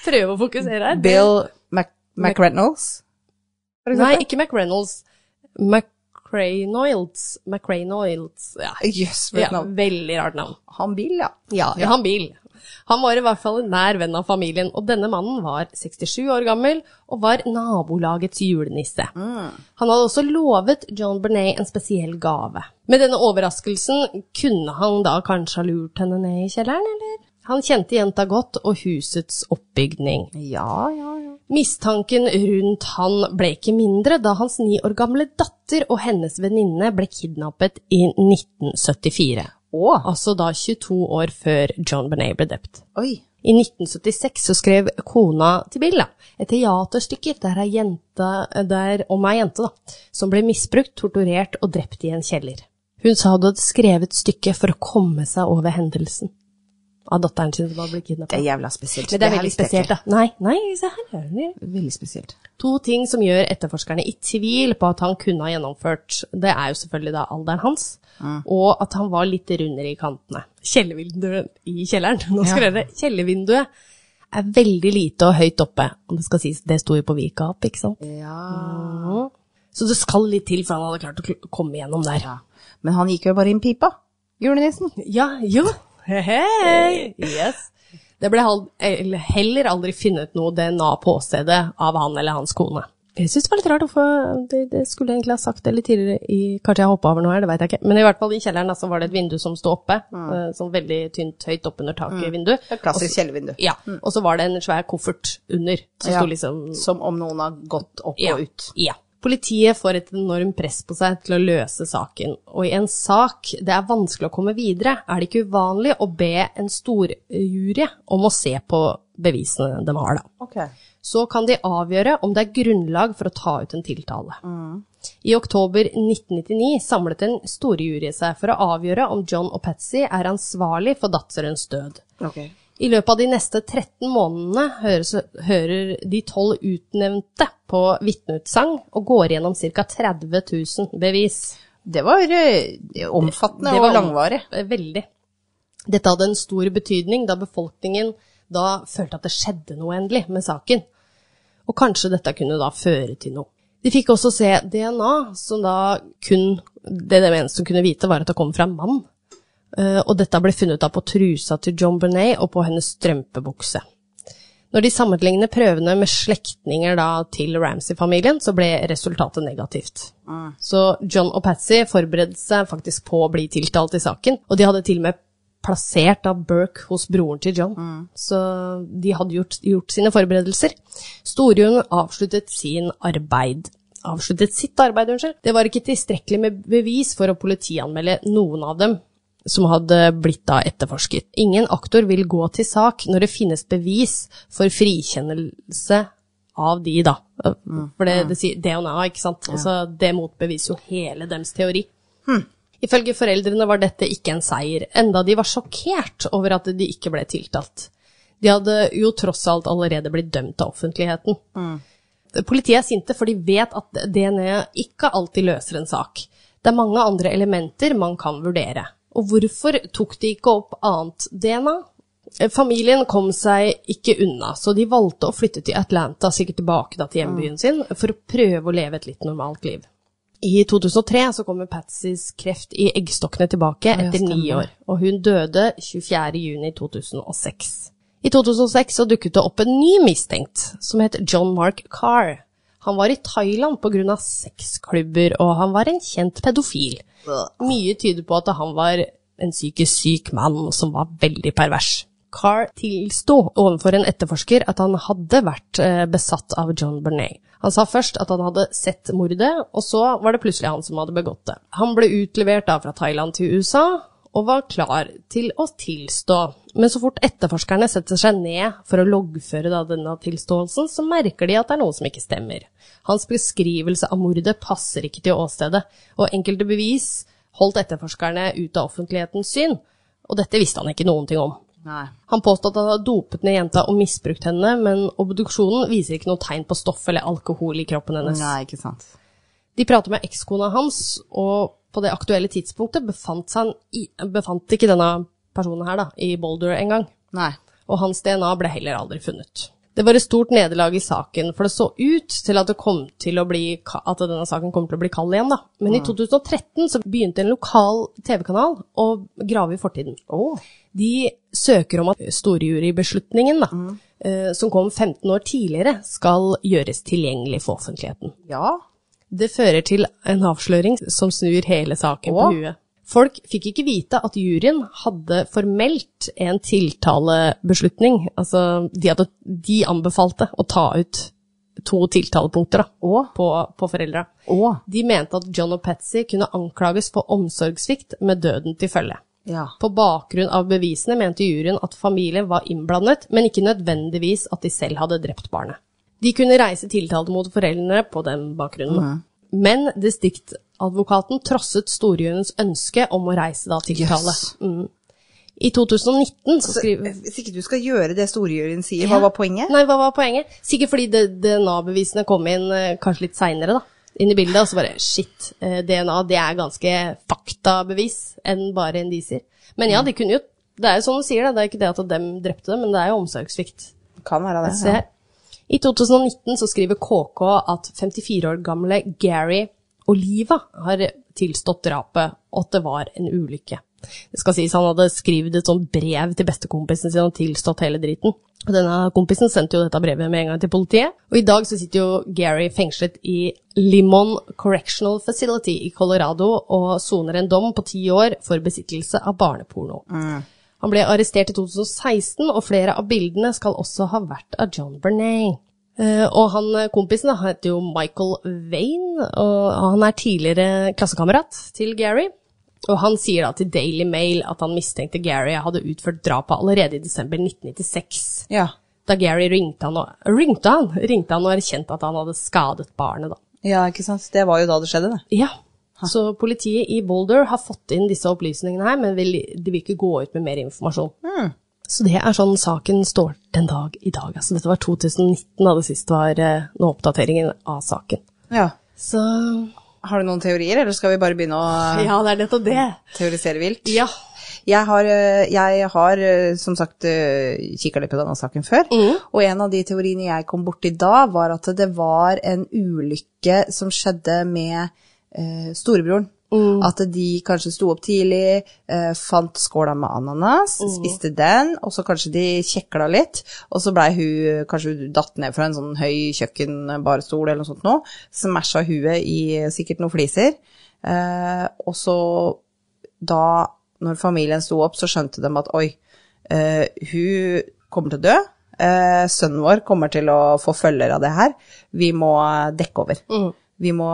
Speaker 1: prøve å fokusere her.
Speaker 2: Bill Mac McReynolds. for
Speaker 1: Nei,
Speaker 2: eksempel.
Speaker 1: ikke McReynolds. McCranoilds. McCranoilds. Ja.
Speaker 2: Jøss, for et
Speaker 1: ja,
Speaker 2: navn.
Speaker 1: veldig rart navn.
Speaker 2: Han Bill, ja.
Speaker 1: Ja, han Bill. Han var i hvert fall en nær venn av familien, og denne mannen var 67 år gammel og var nabolagets julenisse. Han hadde også lovet John Bernet en spesiell gave. Med denne overraskelsen kunne han da kanskje ha lurt henne ned i kjelleren, eller? Han kjente jenta godt og husets oppbygning.
Speaker 2: Ja, ja, ja.
Speaker 1: Mistanken rundt han ble ikke mindre da hans ni år gamle datter og hennes venninne ble kidnappet i 1974.
Speaker 2: Å,
Speaker 1: Altså da 22 år før John Bernet ble drept.
Speaker 2: oi.
Speaker 1: I 1976 så skrev kona til Bill da, et teaterstykke der, er jenta, der om ei jente da, som ble misbrukt, torturert og drept i en kjeller. Hun sa hun hadde skrevet stykket for å komme seg over hendelsen. av datteren sin som har blitt
Speaker 2: Det
Speaker 1: kidnappa.
Speaker 2: er jævla spesielt.
Speaker 1: Men det er
Speaker 2: her
Speaker 1: veldig
Speaker 2: visste jeg
Speaker 1: spesielt, da. Nei, nei, se her. hører du.
Speaker 2: ikke. Veldig spesielt.
Speaker 1: To ting som gjør etterforskerne i tvil på at han kunne ha gjennomført, det er jo selvfølgelig da alderen hans, og at han var litt rundere i kantene. Kjellervinduet i kjelleren, nå skal dere, kjellervinduet er veldig lite og høyt oppe, om det skal sies, det sto jo på Vika opp, ikke sant? Mhm. Så det skal litt til for han hadde klart å kl- komme gjennom der.
Speaker 2: Ja. Men han gikk jo bare inn pipa. Julenissen.
Speaker 1: Ja, jo. Hei, yes. Det ble hal- eller heller aldri funnet noe DNA på åstedet av han eller hans kone. Jeg synes det var litt rart, hvorfor det, det skulle jeg egentlig ha sagt det litt tidligere i Kanskje jeg hoppa over noe her, det veit jeg ikke. Men i hvert fall i kjelleren da, så var det et vindu som sto oppe, eh, sånn veldig tynt høyt oppunder taket vindu.
Speaker 2: Det er et klassisk kjellervindu.
Speaker 1: Ja, og så var det en svær koffert under, som
Speaker 2: Ja.
Speaker 1: sto liksom
Speaker 2: Som om noen har gått opp og ut.
Speaker 1: ja. Politiet får et enormt press på seg til å løse saken, og i en sak det er vanskelig å komme videre, er det ikke uvanlig å be en storjury om å se på bevisene de har, da så kan de avgjøre om det er grunnlag for å ta ut en tiltale. I oktober 1999 samlet en storjury seg for å avgjøre om John og Patsy er ansvarlig for datterens død.
Speaker 2: Ok.
Speaker 1: I løpet av de neste 13 månedene høres, hører de tolv utnevnte på vitneutsagn og går gjennom ca. 30 000 bevis.
Speaker 2: Det var eh, omfattende
Speaker 1: Det var eh,
Speaker 2: og langvarig.
Speaker 1: Veldig. Dette hadde en stor betydning da befolkningen da følte at det skjedde noe endelig med saken. Og kanskje dette kunne da føre til noe. De fikk også se DNA, som da kun Det de eneste som kunne vite, var at det kom fra en mann. Eh, Og dette ble funnet av på trusa til John Bernet og på hennes strømpebukse. Når de sammenligner prøvene med slektninger da til Ramsay-familien, så ble resultatet negativt. Så John og Patsy forberedte seg faktisk på å bli tiltalt i saken, og de hadde til og med plassert da Burke hos broren til John. Så de hadde gjort, gjort sine forberedelser. Storjun avsluttet sin arbeid. Avsluttet sitt arbeid, unnskyld. Det var ikke tilstrekkelig med bevis for å politianmelde noen av dem som hadde blitt da etterforsket. Ingen aktor vil gå til sak når det finnes bevis for frikjennelse av de, da. For det, det sier DNA, ikke sant. Altså, det motbeviser jo hele deres teori. Ifølge foreldrene var dette ikke en seier, enda de var sjokkert over at de ikke ble tiltalt. De hadde jo tross alt allerede blitt dømt av offentligheten. Politiet er sinte, for de vet at DNA ikke alltid løser en sak. Det er mange andre elementer man kan vurdere. Og hvorfor tok de ikke opp annet DNA? Eh, Familien kom seg ikke unna, så de valgte å flytte til Atlanta, sikkert tilbake da til hjembyen sin, for å prøve å leve et litt normalt liv. I 2003 så kommer Patsys kreft i eggstokkene tilbake etter ni år, og hun døde 24. juni 2006. I 2006 så dukket det opp en ny mistenkt, som het John Mark Carr. Han var i Thailand pga. sexklubber, og han var en kjent pedofil. Mye tyder på at han var en psykisk syk mann som var veldig pervers. Carr tilsto overfor en etterforsker at han hadde vært eh, besatt av John Bernet. Han sa først at han hadde sett mordet, og så var det plutselig han som hadde begått det. Han ble utlevert da fra Thailand til USA, og var klar til å tilstå. Men så fort etterforskerne setter seg ned for å loggføre da denne tilståelsen, så merker de at det er noe som ikke stemmer. Hans beskrivelse av mordet passer ikke til åstedet, og enkelte bevis holdt etterforskerne ut av offentlighetens syn, og dette visste han ikke noen ting om.
Speaker 2: Nei.
Speaker 1: Han påstod at han hadde dopet ned jenta og misbrukt henne, men obduksjonen viser ikke noe tegn på stoff eller alkohol i kroppen hennes.
Speaker 2: Nei, ikke sant.
Speaker 1: De prater med ekskona hans, og på det aktuelle tidspunktet befant, han i, befant ikke denne personen her da, i Boulder engang.
Speaker 2: Nei.
Speaker 1: Og hans DNA ble heller aldri funnet. Det var et stort nederlag i saken, for det så ut til at, det kom til å bli, ka- at denne saken kom til å bli kald igjen. Da. Men i 2013 så begynte en lokal TV-kanal å grave i fortiden. De søker om at storjurybeslutningen, da, eh, som kom 15 år tidligere, skal gjøres tilgjengelig for offentligheten.
Speaker 2: Ja.
Speaker 1: Det fører til en avsløring som snur hele saken på
Speaker 2: Åh.
Speaker 1: huet. Folk fikk ikke vite at juryen hadde formelt en tiltalebeslutning. Altså, de, hadde, de anbefalte å ta ut to tiltalepunkter da,
Speaker 2: Åh.
Speaker 1: på, på foreldra.
Speaker 2: Å.
Speaker 1: De mente at John og Patsy kunne anklages for omsorgssvikt med døden til følge.
Speaker 2: Ja.
Speaker 1: På bakgrunn av bevisene mente juryen at familien var innblandet, men ikke nødvendigvis at de selv hadde drept barnet. De kunne reise tiltalte mot foreldrene på den bakgrunnen. Men distriktadvokaten trosset storjuryens ønske om å reise da tiltale.
Speaker 2: Jøss.
Speaker 1: Mm. I 2019 så skriver
Speaker 2: Eh, Hvis ikke du skal gjøre det storjuryen sier, hva var poenget?
Speaker 1: Nei, hva var poenget? Sikkert fordi det- DNA-bevisene kom inn eh, kanskje litt seinere, da. Inn i bildet, og så bare shit, eh, DNA det er ganske faktabevis enn bare indisier. Men ja, de kunne jo Det er jo sånn de sier det, det er ikke det at dem drepte dem, men det er jo omsorgssvikt.
Speaker 2: Kan være det.
Speaker 1: Se her. I 2019 så skriver KK at 54 år gamle Gary Oliva har tilstått drapet, og at det var en ulykke. Det skal sies han hadde skrevet et sånt brev til bestekompisen sin og tilstått hele driten. Og denne kompisen sendte jo dette brevet med en gang til politiet. Og i dag så sitter jo Gary fengslet i Limon Correctional Facility i Colorado og soner en dom på ti år for besittelse av barneporno. Han ble arrestert i 2016, og flere av bildene skal også ha vært av John Bernay. Eh, og han eh, kompisen da, han heter jo Michael Wayne, og han er tidligere klassekamerat til Gary. Og han sier da til Daily Mail at han mistenkte Gary hadde utført drapet allerede i desember 1996.
Speaker 2: Ja.
Speaker 1: Da Gary ringte han og, ringte han, ringte han og erkjente at han hadde skadet barnet da.
Speaker 2: ja, ikke sant. Det var jo da det skjedde, det.
Speaker 1: Ja. Så politiet i Boulder har fått inn disse opplysningene her, men vil, de vil ikke gå ut med mer informasjon. Så det er sånn saken står den dag i dag. Altså, dette var 2019 da det sist var eh, nå oppdateringen av saken.
Speaker 2: Ja.
Speaker 1: Så
Speaker 2: Har du noen teorier, eller skal vi bare begynne å
Speaker 1: Ja, det er nettopp det.
Speaker 2: teorisere vilt?
Speaker 1: Ja.
Speaker 2: Jeg har, øh, jeg har øh, som sagt øh, kikket litt på denne saken før, og en av de teoriene jeg kom borti da, var at det var en ulykke som skjedde med øh, storebroren. At de kanskje sto opp tidlig, øh, fant skåla med ananas, spiste den, og så kanskje de kjekla litt, og så blei hun kanskje hun datt ned fra en sånn høy kjøkkenbarstol eller noe sånt noe, smasha huet i sikkert noen fliser, eh, og så da, når familien sto opp, så skjønte de at oi, eh, hun kommer til å dø. Eh, sønnen vår kommer til å få følger av det her. Vi må dekke over.
Speaker 1: Mm.
Speaker 2: Vi, må,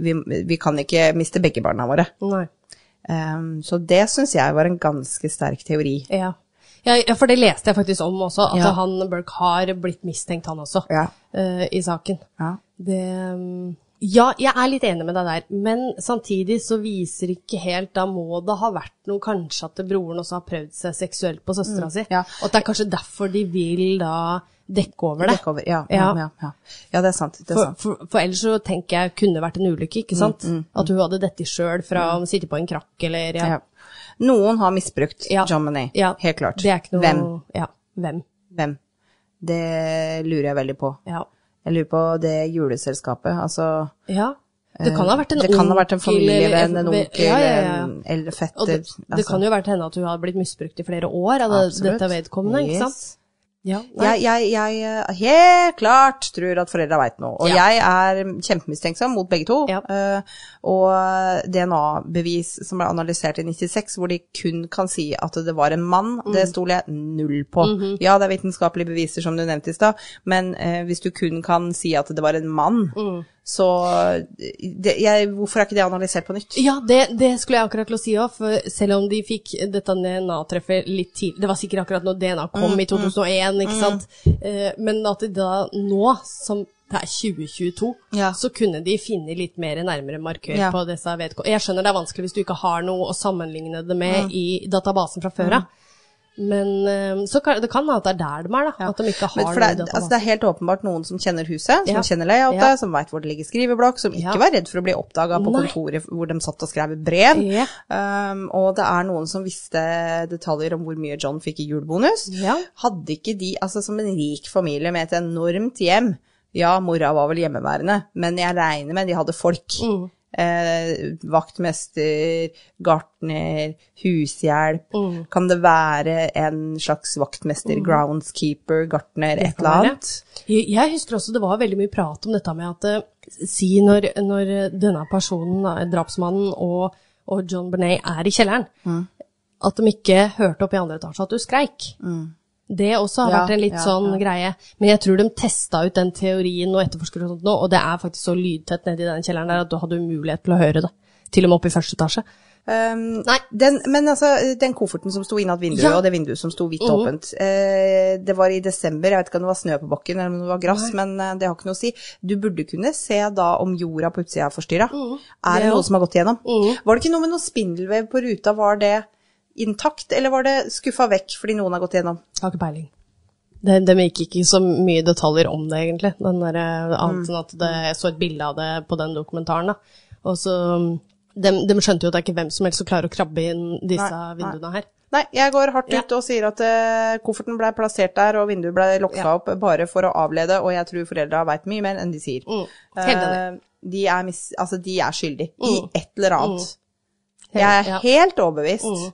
Speaker 2: vi, vi kan ikke miste begge barna våre.
Speaker 1: Nei.
Speaker 2: Eh, så det syns jeg var en ganske sterk teori.
Speaker 1: Ja. Ja, ja, for det leste jeg faktisk om også, at
Speaker 2: Ja.
Speaker 1: han Burke har blitt mistenkt, han også,
Speaker 2: Ja.
Speaker 1: eh, i saken.
Speaker 2: Ja.
Speaker 1: Det um, Ja, jeg er litt enig med deg der, men samtidig så viser ikke helt Da må det ha vært noe kanskje at broren også har prøvd seg seksuelt på søstera si.
Speaker 2: ja.
Speaker 1: Og at det er kanskje derfor de vil da dekke over det.
Speaker 2: Dekke over. Ja, ja.
Speaker 1: Ja.
Speaker 2: Ja, ja. ja, det er sant. Det altså. Mm, er
Speaker 1: For,
Speaker 2: sant.
Speaker 1: for, for ellers så tenker jeg kunne det vært en ulykke, ikke sant? At hun hadde dette sjøl fra å sitte på en krakk eller ja.
Speaker 2: Ja. Noen har misbrukt
Speaker 1: Ja.
Speaker 2: John Money,
Speaker 1: Ja.
Speaker 2: helt klart.
Speaker 1: Det er ikke noe
Speaker 2: Hvem?
Speaker 1: Ja. Hvem.
Speaker 2: Hvem? Det lurer jeg veldig på.
Speaker 1: Ja.
Speaker 2: Jeg lurer på det juleselskapet, altså
Speaker 1: ja. Det kan ha vært en
Speaker 2: Eh, Det kan ha vært en
Speaker 1: onkel
Speaker 2: familievenn, en
Speaker 1: eller-
Speaker 2: onkel,
Speaker 1: ja, ja, ja.
Speaker 2: en eldre fetter altså.
Speaker 1: Og det, det kan jo være til henne at hun har blitt misbrukt i flere år av det,
Speaker 2: Absolutt.
Speaker 1: dette vedkommende,
Speaker 2: Yes.
Speaker 1: ikke sant? Ja, nei.
Speaker 2: Jeg, jeg, jeg eh, helt klart tror at foreldra veit noe, og
Speaker 1: Ja.
Speaker 2: jeg er kjempemistenksom mot begge to.
Speaker 1: Ja.
Speaker 2: Eh, og DNA-bevis som ble analysert i 96, hvor de kun kan si at det var en mann,
Speaker 1: Mm.
Speaker 2: det stoler jeg null på.
Speaker 1: Mhm.
Speaker 2: Ja, det er vitenskapelige beviser, som du nevnte i stad, men eh, hvis du kun kan si at det var en mann,
Speaker 1: Mm.
Speaker 2: så eh, det, jeg, Hvorfor er ikke det analysert på nytt?
Speaker 1: Ja, det, det skulle jeg akkurat til å si òg, for selv om de fikk dette DNA-treffet litt tidlig Det var sikkert akkurat når DNA
Speaker 2: Mm,
Speaker 1: kom i 2001, ikke sant? Eh, Men at de da nå, som det er 2022,
Speaker 2: Ja.
Speaker 1: så kunne de finne litt mer nærmere markør
Speaker 2: Ja.
Speaker 1: på disse vedkommende. Jeg skjønner det er vanskelig hvis du ikke har noe å sammenligne det med
Speaker 2: Mm.
Speaker 1: i databasen fra før av. Men eh, så kan, det kan være at det er der de er, da. At de ikke
Speaker 2: Men
Speaker 1: har noe
Speaker 2: for det,
Speaker 1: i
Speaker 2: er-
Speaker 1: databasen.
Speaker 2: altså det er helt åpenbart noen som kjenner huset, som
Speaker 1: Ja.
Speaker 2: kjenner layoutet,
Speaker 1: Ja.
Speaker 2: som veit hvor det ligger skriveblokk, som ikke
Speaker 1: Ja.
Speaker 2: var redd for å bli oppdaga på
Speaker 1: Nei.
Speaker 2: kontoret hvor de satt og skrev brev.
Speaker 1: Ja.
Speaker 2: Um, og det er noen som visste detaljer om hvor mye John fikk i julebonus.
Speaker 1: Ja.
Speaker 2: Hadde ikke de, altså som en rik familie med et enormt hjem Ja, mora var vel hjemmeværende, men jeg regner med de hadde folk.
Speaker 1: Mm.
Speaker 2: Eh, vaktmester, gartner, hushjelp.
Speaker 1: Mm.
Speaker 2: Kan det være en slags vaktmester, groundskeeper, gartner, et eller
Speaker 1: være.
Speaker 2: annet?
Speaker 1: Jeg jeg husker også det var veldig mye prat om dette med at eh, si når, når denne personen, da, drapsmannen og, og John Bernay er i kjelleren,
Speaker 2: Mm.
Speaker 1: at de ikke hørte opp i andre etasje at du skreik. Det også har
Speaker 2: Mm. Ja,
Speaker 1: vært en litt
Speaker 2: ja,
Speaker 1: sånn greie. Men jeg tror de testa ut den teorien og etterforskere og sånt nå, og det er faktisk så lydtett nedi den kjelleren der at du hadde mulighet til å høre det. Til og med oppe i første etasje.
Speaker 2: Um,
Speaker 1: Nei.
Speaker 2: Den, men altså, den kofferten som sto innad vinduet,
Speaker 1: Ja.
Speaker 2: og det vinduet som sto hvitt åpent eh, Det var i desember, jeg vet ikke om det var snø på bakken eller om det var gress, men eh, det har ikke noe å si. Du burde kunne se da om jorda på utsida er forstyrra. Er
Speaker 1: Det
Speaker 2: det noe
Speaker 1: også.
Speaker 2: som har gått igjennom? Var det ikke noe med noe spindelvev på ruta, var det intakt, eller var det skuffa vekk fordi noen har gått gjennom?
Speaker 1: Jeg har ikke peiling. De, de gikk ikke så mye detaljer om det, egentlig. Den der, eh, annet enn at det, jeg så et bilde av det på den dokumentaren. Da. Og så, de, de skjønte jo at det er ikke hvem som helst som klarer å krabbe inn disse
Speaker 2: Nei, nei.
Speaker 1: vinduene her.
Speaker 2: Nei, jeg går hardt
Speaker 1: Ja.
Speaker 2: ut og sier at eh, kofferten ble plassert der, og vinduet ble lokka
Speaker 1: Ja.
Speaker 2: opp bare for å avlede, og jeg tror foreldra veit mye mer enn de sier.
Speaker 1: Mm. Helt enig.
Speaker 2: Eh, de, er mis, altså, de er skyldige
Speaker 1: Mm.
Speaker 2: i et eller annet.
Speaker 1: Helt-
Speaker 2: Jeg
Speaker 1: ja.
Speaker 2: er
Speaker 1: Mm.
Speaker 2: helt overbevist.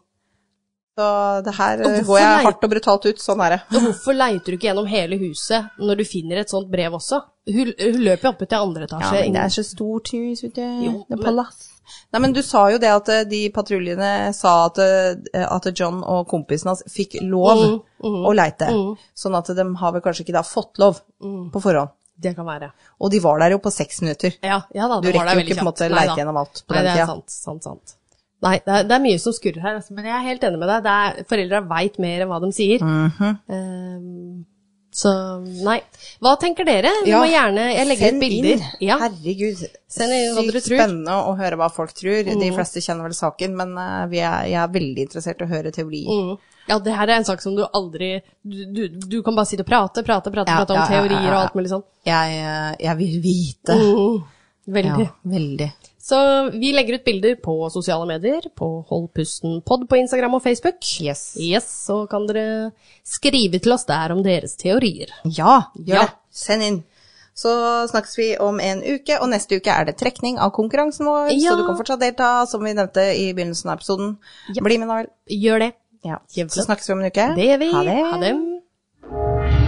Speaker 2: Så det her eh,
Speaker 1: Og hvorfor
Speaker 2: går jeg
Speaker 1: nei?
Speaker 2: hardt og brutalt ut. Sånn er det.
Speaker 1: Og hvorfor leiter du ikke gjennom hele huset når du finner et sånt brev også? Hun, hun løper jo opp til andre
Speaker 2: Ja,
Speaker 1: etasje.
Speaker 2: men det
Speaker 1: inn-
Speaker 2: er så stort hus, vet du.
Speaker 1: Jo,
Speaker 2: det er
Speaker 1: men-
Speaker 2: palass. Nei, men du sa jo det at eh, de patruljene sa at, eh, at John og kompisen hans fikk lov
Speaker 1: Mm.
Speaker 2: å leite. Sånn at de har vel kanskje ikke da fått lov
Speaker 1: Mm.
Speaker 2: på forhånd.
Speaker 1: det kan være.
Speaker 2: Og de var der jo på seks minutter.
Speaker 1: Ja, ja da,
Speaker 2: Du
Speaker 1: det var
Speaker 2: rekker
Speaker 1: da
Speaker 2: jo ikke
Speaker 1: veldig
Speaker 2: på en
Speaker 1: kjapt. Nei
Speaker 2: måte
Speaker 1: da.
Speaker 2: leite gjennom alt på
Speaker 1: Nei,
Speaker 2: den
Speaker 1: det er
Speaker 2: tida.
Speaker 1: sant, sant, sant. Nei, det er, det er mye som skurrer her, altså, men jeg er helt enig med deg. Det er, foreldre veit mer enn hva de sier.
Speaker 2: Mhm.
Speaker 1: Ehm, så nei. Hva tenker dere? Vi
Speaker 2: Ja,
Speaker 1: må gjerne Jeg legger ut
Speaker 2: Send
Speaker 1: bilder.
Speaker 2: inn.
Speaker 1: Ja.
Speaker 2: Herregud.
Speaker 1: Send inn hva dere
Speaker 2: Sykt
Speaker 1: tror. Mm.
Speaker 2: spennende å høre hva folk tror. De fleste kjenner vel saken, men eh, vi er, jeg er veldig interessert i å høre teorier.
Speaker 1: Mm. Ja, det her er en sak som du aldri Du, du, du kan bare sitte og prate, prate, prate,
Speaker 2: Ja,
Speaker 1: prate om
Speaker 2: ja, ja, ja,
Speaker 1: teorier og
Speaker 2: ja.
Speaker 1: alt mulig sånn.
Speaker 2: Jeg, eh, jeg vil vite.
Speaker 1: Mm. Veldig.
Speaker 2: Ja, veldig.
Speaker 1: Så vi legger ut bilder på sosiale medier, på Hold pusten pod på Instagram og Facebook.
Speaker 2: Yes.
Speaker 1: Yes, så kan dere skrive til oss der om deres teorier.
Speaker 2: Ja, gjør
Speaker 1: Ja.
Speaker 2: det. Send inn. Så snakkes vi om en uke, og neste uke er det trekning av konkurransen vår,
Speaker 1: Ja.
Speaker 2: så du kan fortsatt delta, som vi nevnte i begynnelsen av episoden. Bli med, Noel.
Speaker 1: Gjør det.
Speaker 2: Ja.
Speaker 1: Kjempe.
Speaker 2: Så snakkes vi om en uke.
Speaker 1: Det gjør vi.
Speaker 2: Ha det.
Speaker 1: Ha det.